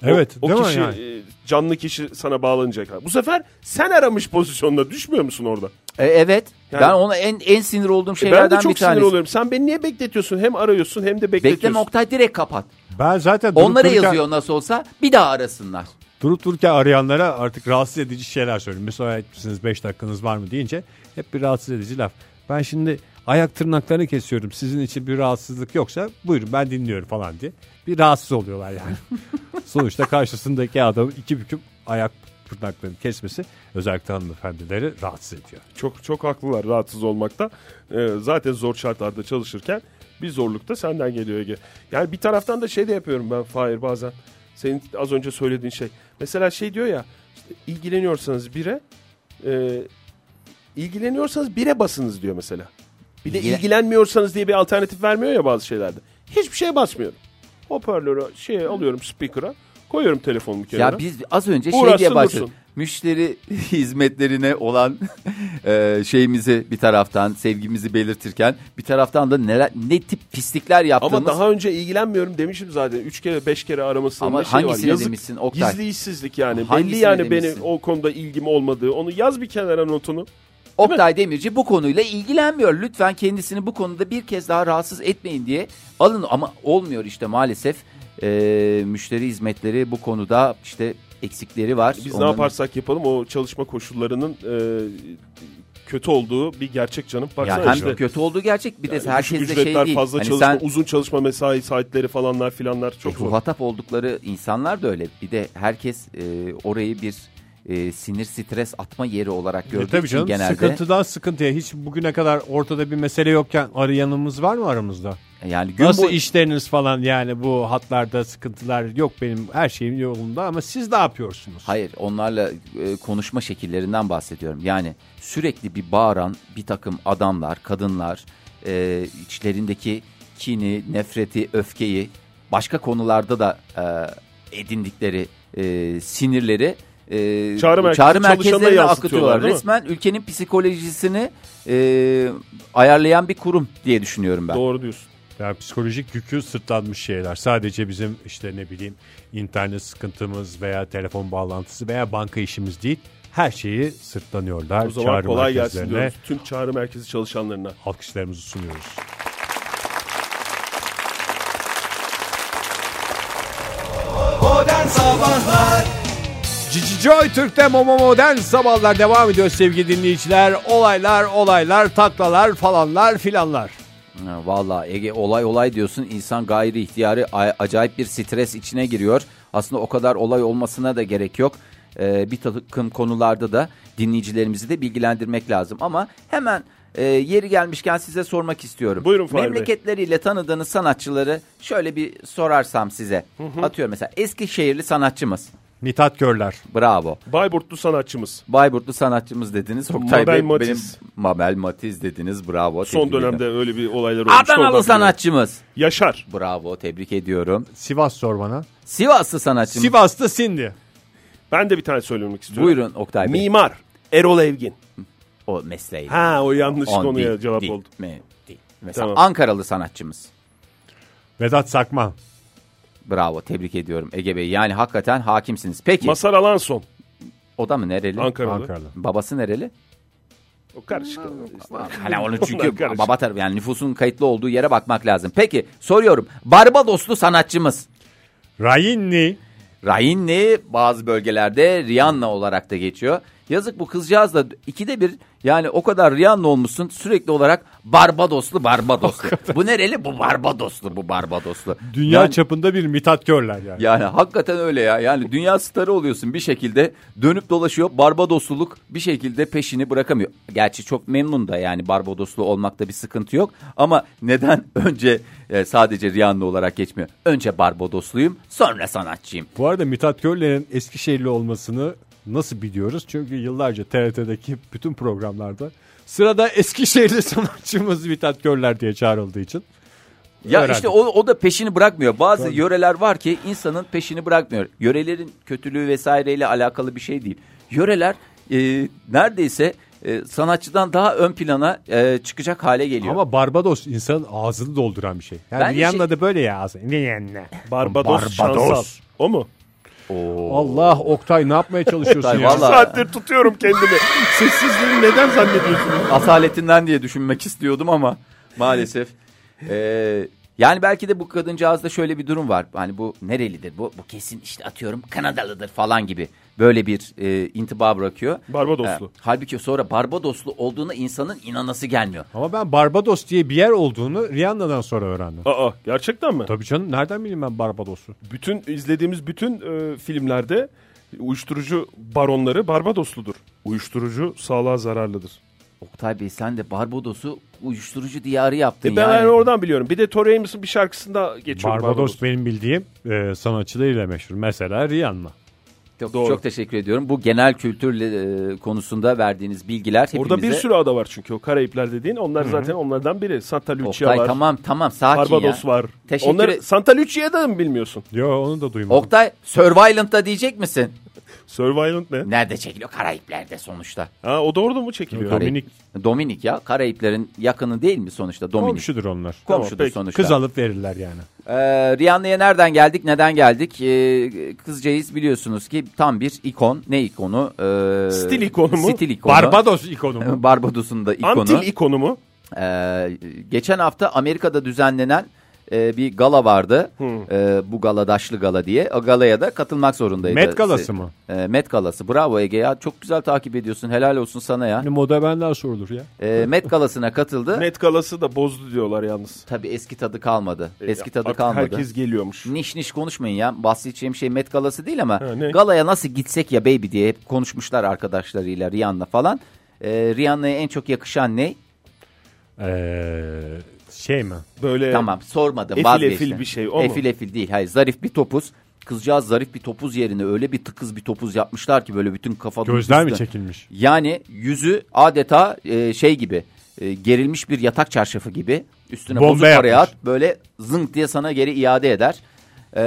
Speaker 5: Evet
Speaker 3: O
Speaker 5: değil mi
Speaker 3: kişi
Speaker 5: yani?
Speaker 3: e, canlı kişi sana bağlanacak. Bu sefer sen aramış pozisyonda düşmüyor musun orada?
Speaker 4: E, evet.
Speaker 3: Yani- E,
Speaker 4: ben ona en en sinir olduğum
Speaker 3: ben
Speaker 4: şeylerden
Speaker 3: de çok
Speaker 4: bir tanesi.
Speaker 3: sinir oluyorum. Sen beni niye bekletiyorsun? Hem arıyorsun hem de bekletiyorsun.
Speaker 4: Bekleme Oktay direkt kapat.
Speaker 5: Ben zaten durup
Speaker 4: Onlara
Speaker 5: dururken-
Speaker 4: yazıyor nasıl olsa bir daha arasınlar.
Speaker 5: Durup dururken arayanlara artık rahatsız edici şeyler söylüyorum. Mesela etmişsiniz 5 dakikanız var mı deyince hep bir rahatsız edici laf. Ben şimdi ayak tırnaklarını kesiyorum. Sizin için bir rahatsızlık yoksa buyurun ben dinliyorum falan diye. Bir rahatsız oluyorlar yani. Sonuçta karşısındaki adamın iki büküm ayak tırnaklarını kesmesi özellikle hanımefendileri rahatsız ediyor.
Speaker 3: Çok çok haklılar rahatsız olmakta. Ee, zaten zor şartlarda çalışırken bir zorluk da senden geliyor Ege. Yani bir taraftan da şey de yapıyorum ben Fahir bazen. Senin az önce söylediğin şey. Mesela şey diyor ya işte ilgileniyorsanız bire e, İlgileniyorsanız bire basınız diyor mesela. Bir de
Speaker 4: İlgilen-
Speaker 3: ilgilenmiyorsanız diye bir alternatif vermiyor ya bazı şeylerde. Hiçbir şeye basmıyorum. Hoparlörü şey alıyorum speaker'a. Koyuyorum telefonumu kenara.
Speaker 4: Ya biz az önce şey
Speaker 3: Uğraşsın
Speaker 4: diye başladık.
Speaker 3: dursun.
Speaker 4: Müşteri hizmetlerine olan e, şeyimizi bir taraftan sevgimizi belirtirken bir taraftan da neler, ne tip pislikler yaptığımız
Speaker 3: Ama daha önce ilgilenmiyorum demişim zaten. Üç kere beş kere aramasının
Speaker 4: Ama
Speaker 3: bir şeyi
Speaker 4: hangisine
Speaker 3: var. Yazık.
Speaker 4: demişsin Oktay?
Speaker 3: Gizli işsizlik yani.
Speaker 4: Hangisine
Speaker 3: Belli yani
Speaker 4: demişsin?
Speaker 3: benim o konuda ilgim olmadığı. Onu yaz bir kenara notunu.
Speaker 4: Oktay Demirci bu konuyla ilgilenmiyor. Lütfen kendisini bu konuda bir kez daha rahatsız etmeyin diye alın ama olmuyor işte maalesef. E, müşteri hizmetleri bu konuda işte eksikleri var.
Speaker 3: Hani Biz ne
Speaker 4: Onların-
Speaker 3: yaparsak yapalım o çalışma koşullarının e, kötü olduğu bir gerçek canım. Baksana
Speaker 4: Ya hem
Speaker 3: işte.
Speaker 4: kötü olduğu gerçek bir de
Speaker 3: Yani düşük
Speaker 4: herkes de şey
Speaker 3: ücretler,
Speaker 4: değil.
Speaker 3: fazla
Speaker 4: Hani
Speaker 3: çalışma,
Speaker 4: sen
Speaker 3: uzun çalışma mesai saatleri falanlar filanlar çok
Speaker 4: E,
Speaker 3: zor.
Speaker 4: Muhatap oldukları insanlar da öyle. Bir de herkes e, orayı bir e, sinir stres atma yeri olarak
Speaker 5: E
Speaker 4: gördüğü
Speaker 5: tabii
Speaker 4: için
Speaker 5: canım
Speaker 4: genelde.
Speaker 5: sıkıntıdan sıkıntıya hiç bugüne kadar ortada bir mesele yokken arayanımız var mı aramızda?
Speaker 4: Yani gün
Speaker 5: Nasıl
Speaker 4: boyu-
Speaker 5: işleriniz falan yani bu hatlarda sıkıntılar yok benim her şeyim yolunda ama siz ne yapıyorsunuz?
Speaker 4: Hayır onlarla e, konuşma şekillerinden bahsediyorum. Yani sürekli bir bağıran bir takım adamlar, kadınlar e, içlerindeki kini, nefreti, öfkeyi başka konularda da e, edindikleri e, sinirleri e,
Speaker 3: Çağrı merkezi-
Speaker 4: merkezlerine
Speaker 3: çalışanına
Speaker 4: akıtıyorlar.
Speaker 3: yansıtıyorlar, değil mi?
Speaker 4: Resmen ülkenin psikolojisini e, ayarlayan bir kurum diye düşünüyorum ben.
Speaker 3: Doğru diyorsun.
Speaker 5: Ya psikolojik yükü sırtlanmış şeyler. Sadece bizim işte ne bileyim internet sıkıntımız veya telefon bağlantısı veya banka işimiz değil. Her şeyi sırtlanıyorlar.
Speaker 3: O zaman
Speaker 5: Çağrı
Speaker 3: kolay gelsin
Speaker 5: merkezlerine
Speaker 3: diyoruz tüm çağrı merkezi çalışanlarına.
Speaker 5: Alkışlarımızı sunuyoruz.
Speaker 2: Cici Joy Türk'te Momo Modern Sabahlar devam ediyor sevgili dinleyiciler. Olaylar, olaylar, taklalar falanlar filanlar.
Speaker 4: Ha, Vallahi Ege olay olay diyorsun insan gayri ihtiyarı a- acayip bir stres içine giriyor. Aslında o kadar olay olmasına da gerek yok. Ee, bir takım konularda da dinleyicilerimizi de bilgilendirmek lazım. Ama hemen e, yeri gelmişken size sormak istiyorum.
Speaker 3: Buyurun Fahri Bey.
Speaker 4: Memleketleriyle tanıdığınız sanatçıları şöyle bir sorarsam size. Atıyorum mesela Eskişehirli sanatçımız.
Speaker 5: Mithat Körler.
Speaker 4: Bravo.
Speaker 3: Bayburtlu sanatçımız.
Speaker 4: Bayburtlu sanatçımız dediniz. Oktay
Speaker 3: Mabel
Speaker 4: Bey,
Speaker 3: Matiz.
Speaker 4: Benim, Mabel Matiz dediniz. Bravo.
Speaker 3: Son
Speaker 4: Tebrik ederim.
Speaker 3: dönemde öyle bir olaylar olmuştu.
Speaker 4: Adanalı
Speaker 3: Oradan
Speaker 4: sanatçımız.
Speaker 3: biliyorum. Yaşar.
Speaker 4: Bravo tebrik ediyorum.
Speaker 5: Sivas sor bana.
Speaker 4: Sivaslı sanatçımız.
Speaker 5: Sivas'ta Sindi.
Speaker 3: Ben de bir tane söylemek istiyorum.
Speaker 4: Buyurun Oktay Bey.
Speaker 3: Mimar Erol Evgin.
Speaker 4: o mesleği.
Speaker 3: Ha o yanlış
Speaker 4: On
Speaker 3: konuya
Speaker 4: değil,
Speaker 3: cevap
Speaker 4: değil,
Speaker 3: oldu.
Speaker 4: mi- değil. Mesela
Speaker 3: Tamam.
Speaker 4: Ankaralı sanatçımız.
Speaker 5: Vedat Sakma.
Speaker 4: Bravo tebrik ediyorum Ege Bey. Yani hakikaten hakimsiniz. Peki
Speaker 3: Masar Alanson
Speaker 4: o da mı nereli?
Speaker 3: Ankaralı.
Speaker 5: Ankaralı.
Speaker 4: Babası nereli?
Speaker 3: O karışık.
Speaker 4: Hala onu
Speaker 3: Onlar
Speaker 4: çünkü
Speaker 3: karışık.
Speaker 4: baba tarafı yani nüfusun kayıtlı olduğu yere bakmak lazım. Peki soruyorum. Barbadoslu sanatçımız.
Speaker 5: Rayinli.
Speaker 4: Rahinli bazı bölgelerde Rihanna olarak da geçiyor. Yazık bu kızcağız da ikide bir yani o kadar Rihanna olmuşsun sürekli olarak Barbadoslu Barbadoslu. bu nereli? Bu Barbadoslu bu Barbadoslu.
Speaker 5: Dünya
Speaker 4: yani,
Speaker 5: çapında bir Mithat Körler yani.
Speaker 4: yani hakikaten öyle ya. Yani dünya starı oluyorsun bir şekilde dönüp dolaşıyor. Barbadosluluk bir şekilde peşini bırakamıyor. Gerçi çok memnun da yani Barbadoslu olmakta bir sıkıntı yok. Ama neden önce e, sadece Rihanna olarak geçmiyor? Önce Barbadosluyum sonra sanatçıyım.
Speaker 5: Bu arada Mithat Körler'in Eskişehirli olmasını nasıl biliyoruz? Çünkü yıllarca TRT'deki bütün programlarda sırada Eskişehirli sanatçımız Mithat Körler diye çağrıldığı için.
Speaker 4: Ya
Speaker 5: Öğrendim.
Speaker 4: işte o, o da peşini bırakmıyor. Bazı yöreler var ki insanın peşini bırakmıyor. Yörelerin kötülüğü vesaireyle alakalı bir şey değil. Yöreler e, neredeyse e, sanatçıdan daha ön plana e, çıkacak hale geliyor.
Speaker 5: Ama Barbados insanın ağzını dolduran bir şey.
Speaker 4: Ben de
Speaker 5: Yani Rihanna
Speaker 4: şey-
Speaker 5: da böyle ya ağzı. Rihanna.
Speaker 3: Barbados, Şansal. O mu?
Speaker 5: Allah Oktay ne yapmaya çalışıyorsun
Speaker 4: Oktay,
Speaker 5: ya?
Speaker 3: Bir
Speaker 4: Vallahi-
Speaker 3: saattir tutuyorum kendimi. Sessizliğini neden zannediyorsunuz?
Speaker 4: asaletinden diye düşünmek istiyordum ama maalesef. Ee, yani belki de bu kadıncağızda şöyle bir durum var. Hani bu nerelidir bu? Bu kesin işte atıyorum Kanadalıdır falan gibi. Böyle bir e, intiba bırakıyor.
Speaker 3: Barbadoslu.
Speaker 4: Ee, halbuki sonra Barbadoslu olduğuna insanın inanası gelmiyor.
Speaker 5: Ama ben Barbados diye bir yer olduğunu Rihanna'dan sonra öğrendim.
Speaker 3: Aa gerçekten mi?
Speaker 5: Tabii canım nereden bileyim ben Barbados'u?
Speaker 3: Bütün izlediğimiz bütün e, filmlerde uyuşturucu baronları Barbadosludur. Uyuşturucu sağlığa zararlıdır.
Speaker 4: Oktay Bey sen de Barbados'u uyuşturucu diyarı yaptın
Speaker 3: E ben
Speaker 4: yani.
Speaker 3: hani oradan biliyorum. Bir de Tori Amos'un bir şarkısında geçiyor
Speaker 5: Barbados benim bildiğim e, sanatçılarıyla meşhur. Mesela Rihanna.
Speaker 4: Çok,
Speaker 3: Doğru.
Speaker 4: çok teşekkür ediyorum. Bu genel kültür e, konusunda verdiğiniz bilgiler hepimize...
Speaker 3: Orada bir sürü ada var çünkü o Karayipler dediğin. Onlar zaten onlardan biri. Santa Lucia
Speaker 4: Oktay
Speaker 3: şey var.
Speaker 4: tamam tamam sakin
Speaker 3: Barbados
Speaker 4: ya.
Speaker 3: var.
Speaker 4: Teşekkür
Speaker 3: Onları
Speaker 4: e-
Speaker 3: Santa Lucia'ya da mı bilmiyorsun?
Speaker 5: Yo onu da duymadım.
Speaker 4: Oktay Survivalent'da diyecek misin?
Speaker 3: Survivalent ne?
Speaker 4: Nerede çekiliyor? Karayipler'de sonuçta.
Speaker 3: Ha, o da orada mı çekiliyor?
Speaker 5: Tabii. Dominik.
Speaker 4: Dominik ya. Karayiplerin yakını değil mi sonuçta? Dominik.
Speaker 5: Komşudur onlar.
Speaker 3: Tamam,
Speaker 4: Komşudur
Speaker 3: peki.
Speaker 4: sonuçta.
Speaker 5: Kız alıp verirler yani.
Speaker 4: Ee, Rihanna'ya nereden geldik, neden geldik? Ee, kızcağız biliyorsunuz ki tam bir ikon. Ne ikonu? Ee,
Speaker 3: Stil ikonu mu?
Speaker 4: Stil ikonu.
Speaker 5: Barbados ikonu mu?
Speaker 4: Barbados'un da ikonu.
Speaker 3: Antil ikonu mu?
Speaker 4: Ee, geçen hafta Amerika'da düzenlenen e, bir gala vardı. Ee, bu gala Daşlı Gala diye. O galaya da katılmak zorundaydı.
Speaker 5: Met galası mı?
Speaker 4: Ee, Met Galası. Bravo Ege ya. Çok güzel takip ediyorsun. Helal olsun sana ya.
Speaker 5: Hani moda benden sorulur ya.
Speaker 4: Ee, Met Galası'na katıldı.
Speaker 3: Met galası da bozdu diyorlar yalnız. E,
Speaker 4: Tabii eski tadı kalmadı. Eski tadı
Speaker 3: Artık
Speaker 4: kalmadı.
Speaker 3: Herkes geliyormuş.
Speaker 4: Niş niş konuşmayın ya. Bahsedeceğim şey Met Galası değil ama
Speaker 3: Ha, ne?
Speaker 4: galaya nasıl gitsek ya baby diye hep konuşmuşlar arkadaşlarıyla Rihanna falan. Ee, Rihanna'ya en çok yakışan ne?
Speaker 5: Ee, şey mi?
Speaker 3: Böyle
Speaker 4: Tamam sormadım
Speaker 3: Ee, Efil
Speaker 4: vazgeçtim.
Speaker 3: efil bir şey, o mu?
Speaker 4: Efil efil değil. Hayır zarif bir topuz. Kızcağız zarif bir topuz yerine öyle bir tıkız bir topuz yapmışlar ki böyle bütün kafa
Speaker 5: Gözler mi
Speaker 4: dümdüz de.
Speaker 5: çekilmiş?
Speaker 4: Yani yüzü adeta e, şey gibi e, gerilmiş bir yatak çarşafı gibi üstüne
Speaker 5: Bombe
Speaker 4: bozuk parayı at
Speaker 5: yapmış.
Speaker 4: böyle zınk diye sana geri iade eder. E,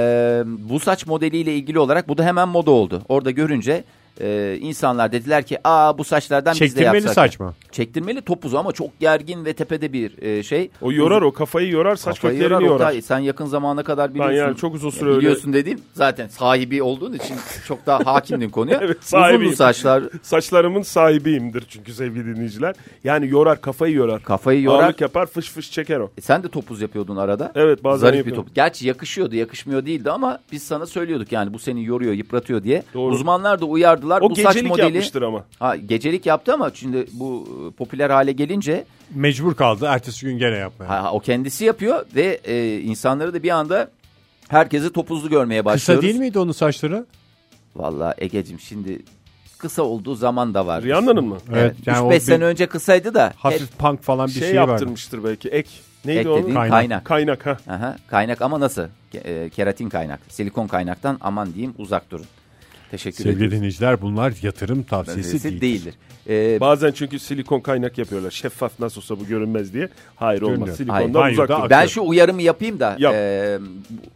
Speaker 4: bu saç modeliyle ilgili olarak bu da hemen moda oldu. Orada görünce e, insanlar dediler ki aa bu saçlardan biz de
Speaker 5: Çektirmeli
Speaker 4: yapsak.
Speaker 5: saç mı?
Speaker 4: Çektirmeli topuz ama çok gergin ve tepede bir e, şey.
Speaker 3: O yorar o kafayı yorar saç
Speaker 4: Kafayı
Speaker 3: köklerini
Speaker 4: yorar,
Speaker 3: yorar.
Speaker 4: Oktay. Sen yakın zamana kadar biliyorsun.
Speaker 3: yani çok uzun
Speaker 4: Ya
Speaker 3: süre öyle-
Speaker 4: Biliyorsun dediğim zaten sahibi olduğun için çok daha hakimdin konuya.
Speaker 3: Evet,
Speaker 4: Uzun
Speaker 3: sahibiyim.
Speaker 4: saçlar
Speaker 3: Saçlarımın sahibiyimdir çünkü sevgili dinleyiciler. Yani yorar kafayı yorar.
Speaker 4: kafayı yorar.
Speaker 3: Ağırlık yapar fış fış çeker o.
Speaker 4: E, sen de topuz yapıyordun arada.
Speaker 3: Evet bazen
Speaker 4: Zarif bir
Speaker 3: yapıyorum.
Speaker 4: topuz. Gerçi yakışıyordu yakışmıyor değildi ama biz sana söylüyorduk yani bu seni yoruyor yıpratıyor diye.
Speaker 3: Doğru.
Speaker 4: Uzmanlar da uyardılar.
Speaker 3: O
Speaker 4: bu saç
Speaker 3: gecelik
Speaker 4: modeli.
Speaker 3: yapmıştır ama.
Speaker 4: Ha, gecelik yaptı ama şimdi bu e, popüler hale gelince
Speaker 5: Mecbur kaldı. Ertesi gün gene yapmaya.
Speaker 4: ha, ha, o kendisi yapıyor ve e, insanları da bir anda herkesi topuzlu görmeye başlıyoruz.
Speaker 5: Kısa değil miydi onun saçları?
Speaker 4: Vallahi Ege'cim şimdi kısa olduğu zaman da var.
Speaker 3: Rihanna'nın mı?
Speaker 4: Evet.
Speaker 5: yani o
Speaker 4: 3-5
Speaker 5: bir
Speaker 4: sene önce kısaydı da hep
Speaker 5: Hafif punk falan bir
Speaker 3: şey,
Speaker 5: şey, şey vardı.
Speaker 3: yaptırmıştır belki ek. Neydi
Speaker 4: ek
Speaker 3: onun?
Speaker 4: dediğin
Speaker 5: Kaynak.
Speaker 4: kaynak.
Speaker 3: Kaynak ha.
Speaker 4: Aha, kaynak ama nasıl? Ke- e, keratin kaynak. Silikon kaynaktan aman diyeyim uzak durun. Teşekkür
Speaker 5: Sevgili
Speaker 4: ederim.
Speaker 5: dinleyiciler bunlar yatırım tavsiyesi
Speaker 4: Sesi
Speaker 5: değil.
Speaker 4: değildir. Ee,
Speaker 3: Bazen çünkü silikon kaynak yapıyorlar. Şeffaf nasıl olsa bu görünmez diye. Hayır olmaz.
Speaker 5: Görünüyor.
Speaker 3: Silikondan
Speaker 5: Hayır.
Speaker 3: uzak
Speaker 5: Banyoda
Speaker 3: dur.
Speaker 4: ben şu uyarımı yapayım da
Speaker 3: Yap.
Speaker 4: e,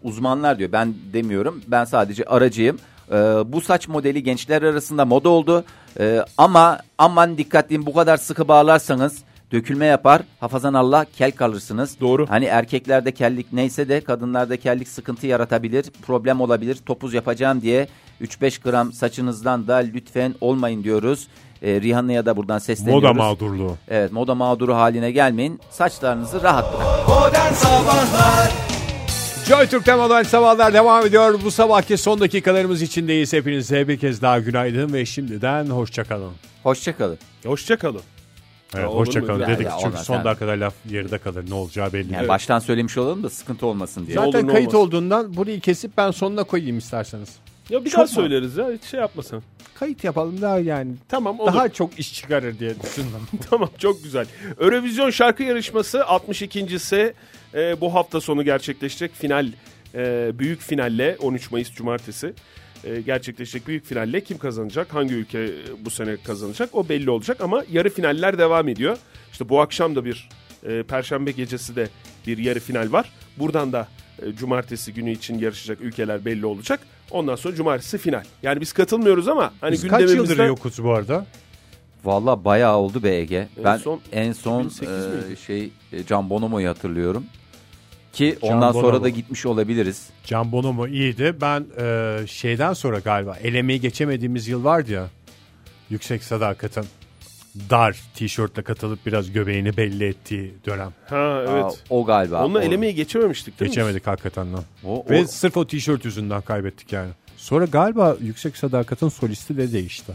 Speaker 4: uzmanlar diyor ben demiyorum ben sadece aracıyım. E, bu saç modeli gençler arasında moda oldu E, ama aman dikkatli bu kadar sıkı bağlarsanız dökülme yapar hafazan Allah kel kalırsınız.
Speaker 3: Doğru.
Speaker 4: Hani erkeklerde kellik neyse de kadınlarda kellik sıkıntı yaratabilir problem olabilir topuz yapacağım diye 3-5 gram saçınızdan da lütfen olmayın diyoruz. E, Rihanna'ya da buradan sesleniyoruz.
Speaker 5: Moda mağdurluğu.
Speaker 4: Evet moda mağduru haline gelmeyin saçlarınızı rahat bırakın.
Speaker 5: Joy Türk'te modern sabahlar devam ediyor. Bu sabahki son dakikalarımız içindeyiz. Hepinize bir kez daha günaydın ve şimdiden hoşçakalın.
Speaker 4: Hoşçakalın.
Speaker 3: Hoşçakalın.
Speaker 5: Evet,
Speaker 3: Ya olur
Speaker 5: hoşçakalın
Speaker 3: mu?
Speaker 5: dedik
Speaker 4: Ya, ya,
Speaker 5: çünkü
Speaker 4: olmaz
Speaker 5: son
Speaker 4: yani.
Speaker 5: dakikada laf yarıda kalır. Ne olacağı belli
Speaker 4: Yani
Speaker 5: değil.
Speaker 4: baştan söylemiş olalım da sıkıntı olmasın diye.
Speaker 3: Ya- olur
Speaker 1: Zaten
Speaker 3: ne
Speaker 1: kayıt
Speaker 3: olmaz.
Speaker 1: olduğundan burayı kesip ben sonuna koyayım isterseniz.
Speaker 3: Ya bir
Speaker 1: Çok
Speaker 3: daha
Speaker 1: mu?
Speaker 3: söyleriz ya. Hiç şey yapmasın.
Speaker 1: Kayıt yapalım daha yani.
Speaker 3: Tamam olur.
Speaker 1: Daha çok iş çıkarır diye düşündüm.
Speaker 3: Tamam çok güzel. Eurovision şarkı yarışması 62.si e, bu hafta sonu gerçekleşecek. Final e, büyük finalle 13 Mayıs Cumartesi e, gerçekleşecek büyük finalle kim kazanacak? Hangi ülke e, bu sene kazanacak? O belli olacak ama yarı finaller devam ediyor. İşte bu akşam da bir e, Perşembe gecesi de bir yarı final var. Buradan da e, Cumartesi günü için yarışacak ülkeler belli olacak. Ondan sonra Cumartesi final. Yani biz katılmıyoruz ama hani
Speaker 5: Biz kaç
Speaker 3: gündemimizde...
Speaker 5: yıldır yokuz bu arada?
Speaker 4: Valla bayağı oldu be Ege.
Speaker 3: En
Speaker 4: ben
Speaker 3: son
Speaker 4: en son
Speaker 3: 2008
Speaker 4: e,
Speaker 3: miydi?
Speaker 4: şey e, Can Bonomo'yu hatırlıyorum. Ki
Speaker 5: Can
Speaker 4: ondan sonra
Speaker 5: Bonomo.
Speaker 4: da gitmiş olabiliriz.
Speaker 5: Can Bonomo iyiydi. Ben e, şeyden sonra galiba elemeyi geçemediğimiz yıl vardı ya. Yüksek sadakatin dar tişörtle katılıp biraz göbeğini belli ettiği dönem.
Speaker 3: Ha evet.
Speaker 4: Aa, o galiba.
Speaker 3: Onunla
Speaker 4: O-
Speaker 3: elemeyi geçememiştik değil mi?
Speaker 5: Geçemedik hakikaten lan.
Speaker 4: O, o-
Speaker 5: Ve sırf o tişört yüzünden kaybettik yani. Sonra galiba Yüksek Sadakat'ın solisti de değişti.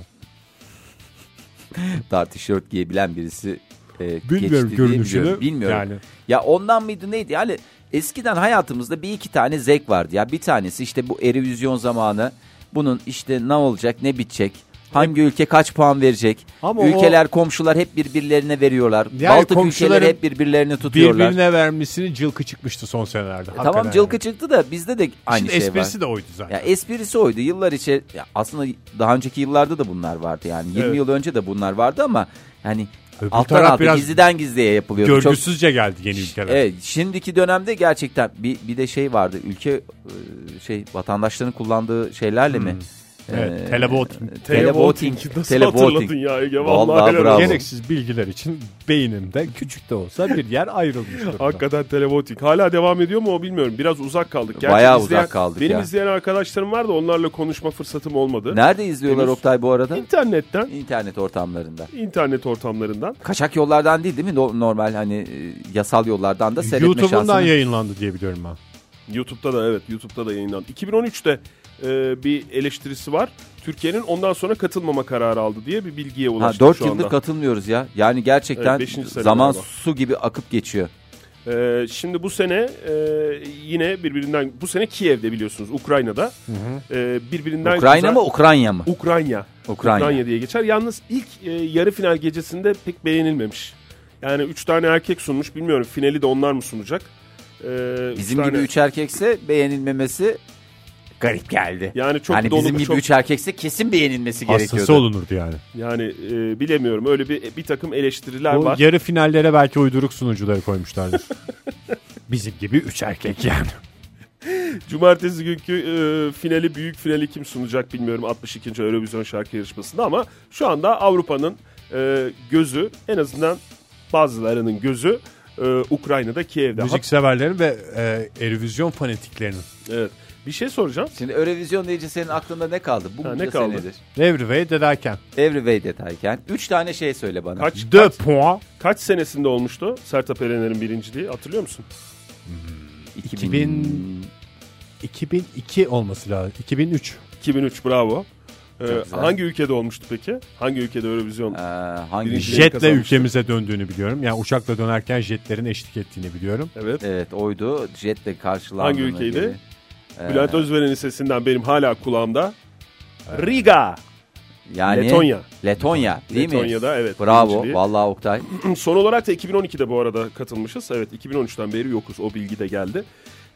Speaker 4: dar tişört giyebilen birisi e, geçti diye
Speaker 5: Bilmiyorum görünüşünü.
Speaker 4: biliyorum. Bilmiyorum.
Speaker 5: Yani.
Speaker 4: Ya ondan mıydı neydi? Yani eskiden hayatımızda bir iki tane zevk vardı ya. Bir tanesi işte bu erivizyon zamanı. Bunun işte ne olacak ne bitecek. Hangi ülke kaç puan verecek?
Speaker 5: Ama
Speaker 4: Ülkeler, komşular hep birbirlerine veriyorlar.
Speaker 5: Yani
Speaker 4: Baltık ülkeleri
Speaker 5: komşuların
Speaker 4: hep birbirlerini tutuyorlar. E
Speaker 5: Birbirine vermesini cılkı çıkmıştı son senelerde.
Speaker 4: Tamam cılkı çıktı da bizde de aynı
Speaker 5: Şimdi
Speaker 4: şey var.
Speaker 5: esprisi de oydu zaten.
Speaker 4: Ya esprisi oydu. Yıllar içi ya aslında daha önceki yıllarda da bunlar vardı yani. 20 yıl önce de bunlar vardı ama yani
Speaker 5: Öbür
Speaker 4: alttan
Speaker 5: taraf
Speaker 4: alta
Speaker 5: biraz
Speaker 4: gizliden gizliye yapılıyordu. Çok-
Speaker 5: Görgüsüzce geldi yeni ülkeler.
Speaker 4: Evet, şimdiki dönemde gerçekten bir bir de şey vardı. Ülke e, şey vatandaşların kullandığı şeylerle mi?
Speaker 5: Evet,
Speaker 3: Hmm.
Speaker 4: Ee,
Speaker 5: televoting.
Speaker 4: televoting.
Speaker 3: Nasıl
Speaker 4: Televoting.
Speaker 3: hatırladın ya Ege?
Speaker 4: Vallahi
Speaker 3: Vallahi, helal
Speaker 4: bravo.
Speaker 3: olsun.
Speaker 1: Gereksiz bilgiler için beynimde küçük de olsa bir yer ayrılmış durumda.
Speaker 3: Hakikaten televoting. Hala devam ediyor mu o bilmiyorum. Biraz uzak kaldık.
Speaker 4: Bayağı uzak kaldık
Speaker 3: Benim
Speaker 4: ya.
Speaker 3: izleyen arkadaşlarım var da onlarla konuşma fırsatım olmadı.
Speaker 4: Nerede izliyorlar
Speaker 3: Henüz-
Speaker 4: Oktay bu arada?
Speaker 3: İnternetten,
Speaker 4: İnternet ortamlarında.
Speaker 3: internet ortamlarından.
Speaker 4: Kaçak yollardan değil değil mi? No- Normal hani e, yasal yollardan da seyretme
Speaker 5: YouTube'undan
Speaker 4: şansını-
Speaker 5: yayınlandı diye biliyorum ben.
Speaker 3: YouTube'da da evet YouTube'da da yayınlandı. 2013'te e, bir eleştirisi var. Türkiye'nin ondan sonra katılmama kararı aldı diye bir bilgiye
Speaker 4: Ha,
Speaker 3: ulaştık
Speaker 4: 4
Speaker 3: şu
Speaker 4: yıldır
Speaker 3: anda.
Speaker 4: katılmıyoruz ya. Yani gerçekten
Speaker 3: Evet, beşinci sene
Speaker 4: zaman
Speaker 3: galiba.
Speaker 4: su gibi akıp geçiyor.
Speaker 3: Ee, şimdi bu sene e, yine birbirinden bu sene Kiev'de biliyorsunuz Ukrayna'da E, birbirinden
Speaker 4: Ukrayna
Speaker 3: güzel-
Speaker 4: mı Ukrayna mı?
Speaker 3: Ukrayna.
Speaker 4: Ukrayna.
Speaker 3: diye geçer. Yalnız ilk e, yarı final gecesinde pek beğenilmemiş. Yani 3 tane erkek sunmuş. Bilmiyorum finali de onlar mı sunacak? Ee, üç
Speaker 4: Bizim
Speaker 3: tane-
Speaker 4: gibi üç erkekse beğenilmemesi garip geldi.
Speaker 3: yani çok
Speaker 4: hani
Speaker 3: dolu
Speaker 4: bizim gibi
Speaker 3: çok
Speaker 4: üç erkekse kesin beğenilmesi
Speaker 5: Hastası
Speaker 4: gerekiyordu.
Speaker 5: olunurdu yani.
Speaker 3: yani e, bilemiyorum öyle bir bir takım eleştiriler
Speaker 5: Bu
Speaker 3: var.
Speaker 5: yarı finallere belki uyduruk sunucuları koymuşlardır. Bizim gibi üç erkek yani.
Speaker 3: Cumartesi günkü e, finali büyük finali kim sunacak bilmiyorum 62. Eurovision şarkı yarışmasında ama şu anda Avrupa'nın e, gözü en azından bazılarının gözü e, Ukrayna'da Kiev'de.
Speaker 5: Müzik severlerin ve e, Eurovision fanatiklerinin.
Speaker 3: Hat- evet. Bir şey soracağım.
Speaker 4: Şimdi Eurovision deyince senin aklında ne kaldı? Bu
Speaker 3: Ha,
Speaker 4: bunca
Speaker 3: ne kaldı?
Speaker 4: senedir.
Speaker 5: Everyway dederken.
Speaker 4: Everyway detayken. Üç tane şey söyle bana.
Speaker 3: Kaç
Speaker 5: De puan.
Speaker 3: kaç senesinde olmuştu Sertab Erener'in birinciliği hatırlıyor musun?
Speaker 5: 2000 2002 olması lazım. 2003.
Speaker 3: 2003 bravo. E,
Speaker 4: güzel.
Speaker 3: hangi ülkede olmuştu peki? Hangi ülkede Eurovision?
Speaker 4: Ee, hangi?
Speaker 3: Birinci-
Speaker 4: Jet-
Speaker 5: Jetle
Speaker 3: kazanmış.
Speaker 5: ülkemize döndüğünü biliyorum. Yani uçakla dönerken jetlerin eşlik ettiğini biliyorum.
Speaker 3: Evet.
Speaker 4: Evet oydu. Jetle karşılandığını.
Speaker 3: Hangi ülkeydi?
Speaker 4: gibi. Ee,
Speaker 3: Bülent Özveren'in sesinden benim hala kulağımda. Riga,
Speaker 4: Yani
Speaker 3: Letonya.
Speaker 4: Letonya değil mi?
Speaker 3: Letonya'da evet.
Speaker 4: Bravo.
Speaker 3: birinciliği.
Speaker 4: Vallahi Oktay.
Speaker 3: Son olarak da 2012'de bu arada katılmışız. Evet 2013'ten beri yokuz. O bilgi de geldi.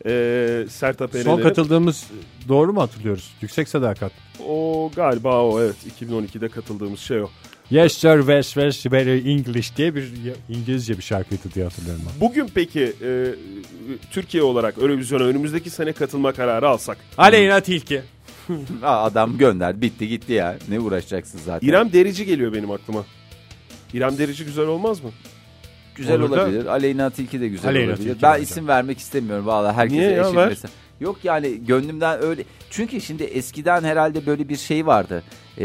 Speaker 3: Ee, Sertap
Speaker 5: Son
Speaker 3: Erener'in
Speaker 5: katıldığımız doğru mu hatırlıyoruz? Yüksek sadakat.
Speaker 3: o galiba o evet 2012'de katıldığımız şey o.
Speaker 5: Yes sir, yes yes, very English diye bir İngilizce bir şarkıydı diye hatırlıyorum ben.
Speaker 3: Bugün peki e, Türkiye olarak Eurovision'a önümüzdeki sene katılma kararı alsak.
Speaker 5: Aleyna Tilki.
Speaker 4: Aa, adam gönder. Bitti gitti ya. Ne uğraşacaksın zaten.
Speaker 3: İrem Derici geliyor benim aklıma. İrem Derici güzel olmaz mı?
Speaker 4: Güzel
Speaker 3: Olur da-
Speaker 4: olabilir. Aleyna Tilki de güzel
Speaker 5: Aleyna
Speaker 4: olabilir.
Speaker 5: Tilki
Speaker 4: ben
Speaker 5: bence.
Speaker 4: isim vermek istemiyorum valla herkese
Speaker 3: Niye ya?
Speaker 4: eşit
Speaker 3: Ver.
Speaker 4: mesela. Yok yani gönlümden öyle. Çünkü şimdi eskiden herhalde böyle bir şey vardı. Ee,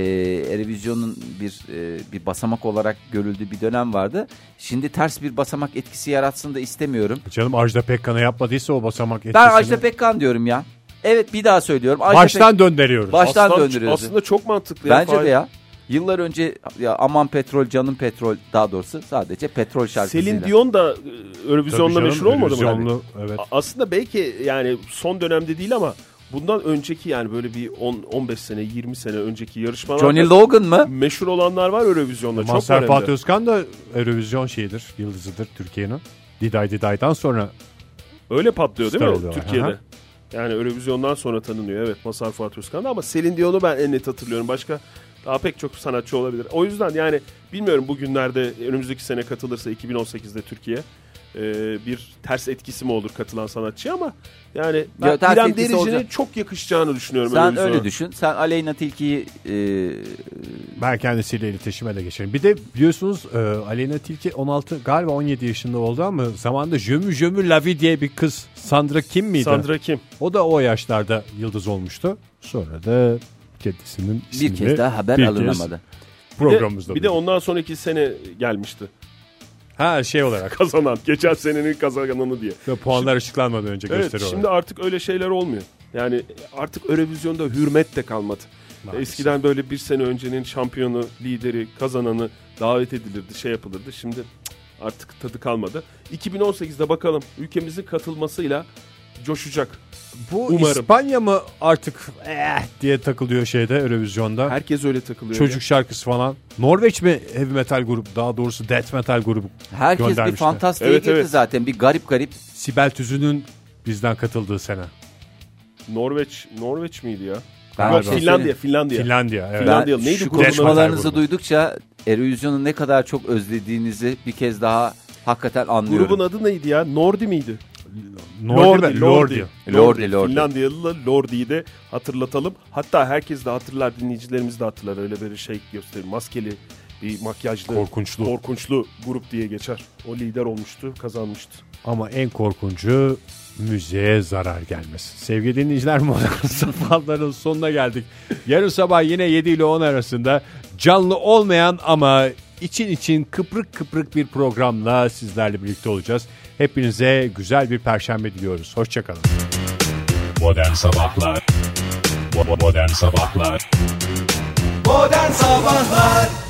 Speaker 4: Erevizyon'un bir e, bir basamak olarak görüldüğü bir dönem vardı. Şimdi ters bir basamak etkisi yaratsın da istemiyorum.
Speaker 5: E Canım Ajda Pekkan'a yapmadıysa o basamak etkisini.
Speaker 4: Ben Ajda Pekkan diyorum ya. Evet bir daha söylüyorum. Ajda Pek-
Speaker 5: Baştan döndürüyoruz.
Speaker 4: baştan
Speaker 3: Aslan-
Speaker 4: döndürüyoruz.
Speaker 3: Aslında çok mantıklı.
Speaker 4: Bence
Speaker 3: Fahir.
Speaker 4: de ya. Yıllar önce ya aman petrol canım petrol daha doğrusu sadece petrol şarkısıyla.
Speaker 3: Selin Dion da e,
Speaker 5: Tabii
Speaker 3: Eurovision'la
Speaker 5: canım,
Speaker 3: meşhur olmadı mı? Yani?
Speaker 5: Eurovisionlu, Evet.
Speaker 3: A- Aslında belki yani son dönemde değil ama bundan önceki yani böyle bir 10 15 sene 20 sene önceki yarışmalarda
Speaker 4: Johnny Logan mı?
Speaker 3: meşhur olanlar var Eurovision'da çok
Speaker 5: Mazhar
Speaker 3: önemli.
Speaker 5: Fatih Özkan da Eurovision şeyidir, yıldızıdır Türkiye'nin. Diday Diday'dan sonra
Speaker 3: Öyle patlıyor değil
Speaker 5: Star
Speaker 3: mi
Speaker 5: oluyorlar,
Speaker 3: Türkiye'de?
Speaker 5: hı hı.
Speaker 3: Yani Eurovision'dan sonra tanınıyor evet Mazhar Fatih Özkan da ama Selin Dion'u ben en net hatırlıyorum. Başka daha pek çok sanatçı olabilir. O yüzden yani bilmiyorum bugünlerde önümüzdeki sene katılırsa 2018'de Türkiye e, bir ters etkisi mi olur katılan sanatçıya ama yani ben
Speaker 4: Ya, ters
Speaker 3: İrem
Speaker 4: etkisi
Speaker 3: Derici'nin
Speaker 4: olacak.
Speaker 3: çok yakışacağını düşünüyorum.
Speaker 4: Sen
Speaker 3: Eurovision'a.
Speaker 4: öyle düşün. Sen Aleyna Tilki'yi e,
Speaker 5: ben kendisiyle iletişime de geçerim. Bir de biliyorsunuz e, Aleyna Tilki 16 galiba 17 yaşında oldu ama zamanında Jömü Jömü Lavi diye bir kız Sandra Kim miydi?
Speaker 3: Sandra kim?
Speaker 5: O da o yaşlarda yıldız olmuştu. Sonra da kendisinin
Speaker 4: bir
Speaker 5: ismini
Speaker 4: kez daha haber
Speaker 5: bir kez
Speaker 4: alınamadı.
Speaker 3: Bir de-
Speaker 5: Programımızda
Speaker 3: Bir de ondan sonraki sene gelmişti.
Speaker 5: ha şey olarak
Speaker 3: Kazanan. Geçen senenin kazananı diye.
Speaker 5: ve puanlar açıklanmadan önce
Speaker 3: Evet
Speaker 5: gösteri
Speaker 3: şimdi
Speaker 5: olarak.
Speaker 3: artık öyle şeyler olmuyor. Yani artık Eurovision'da hürmet de kalmadı. Eskiden böyle bir sene öncenin şampiyonu, lideri, kazananı davet edilirdi, şey yapılırdı. Şimdi cık, artık tadı kalmadı. 2018'de bakalım ülkemizin katılmasıyla coşacak.
Speaker 5: Bu
Speaker 3: Umarım.
Speaker 5: İspanya mı artık eh diye takılıyor şeyde Eurovision'da.
Speaker 3: Herkes öyle takılıyor.
Speaker 5: Ah. Çocuk şarkısı falan. Norveç mi heavy metal grup daha doğrusu death metal grubu.
Speaker 4: Herkes bir
Speaker 5: Göndermişler.
Speaker 4: fantastiğe
Speaker 3: Evet,
Speaker 4: girdi
Speaker 3: evet.
Speaker 4: zaten. Bir garip garip.
Speaker 5: Sibel Tüzün'ün bizden katıldığı sene.
Speaker 3: ya. Norveç, Norveç miydi ya?
Speaker 4: Ben
Speaker 3: Yok
Speaker 4: bir şey
Speaker 3: Finlandiya,
Speaker 4: söyleyeyim.
Speaker 3: Finlandiya.
Speaker 5: Finlandiya. Evet.
Speaker 3: Finlandiya.
Speaker 4: Ben
Speaker 3: Neydi
Speaker 4: şu
Speaker 3: grubun adı?
Speaker 4: konuşmalarınızı
Speaker 5: Metal
Speaker 4: duydukça Eurovision'u ne kadar çok özlediğinizi bir kez daha hakikaten anlıyorum.
Speaker 3: Grubun adı neydi ya? Nordi miydi?
Speaker 5: Nordi, mi? Lordi.
Speaker 4: Lordi, Lordi.
Speaker 3: Finlandiyalı Lordi'yi de hatırlatalım. Hatta herkes de hatırlar, dinleyicilerimiz de hatırlar. Öyle bir şey gösterir. Maskeli, bir makyajlı,
Speaker 5: Korkunçlu.
Speaker 3: korkunçlu grup diye geçer. O lider olmuştu, kazanmıştı.
Speaker 5: Ama en korkuncu müziğe zarar gelmesi. Sevgili dinleyiciler modern sabahların sonuna geldik. Yarın sabah yine 7 ile 10 arasında canlı olmayan ama için için kıprık kıprık bir programla sizlerle birlikte olacağız. Hepinize güzel bir perşembe diliyoruz. Hoşçakalın.
Speaker 6: Modern Sabahlar Bo- bo- Modern Sabahlar
Speaker 2: Modern Sabahlar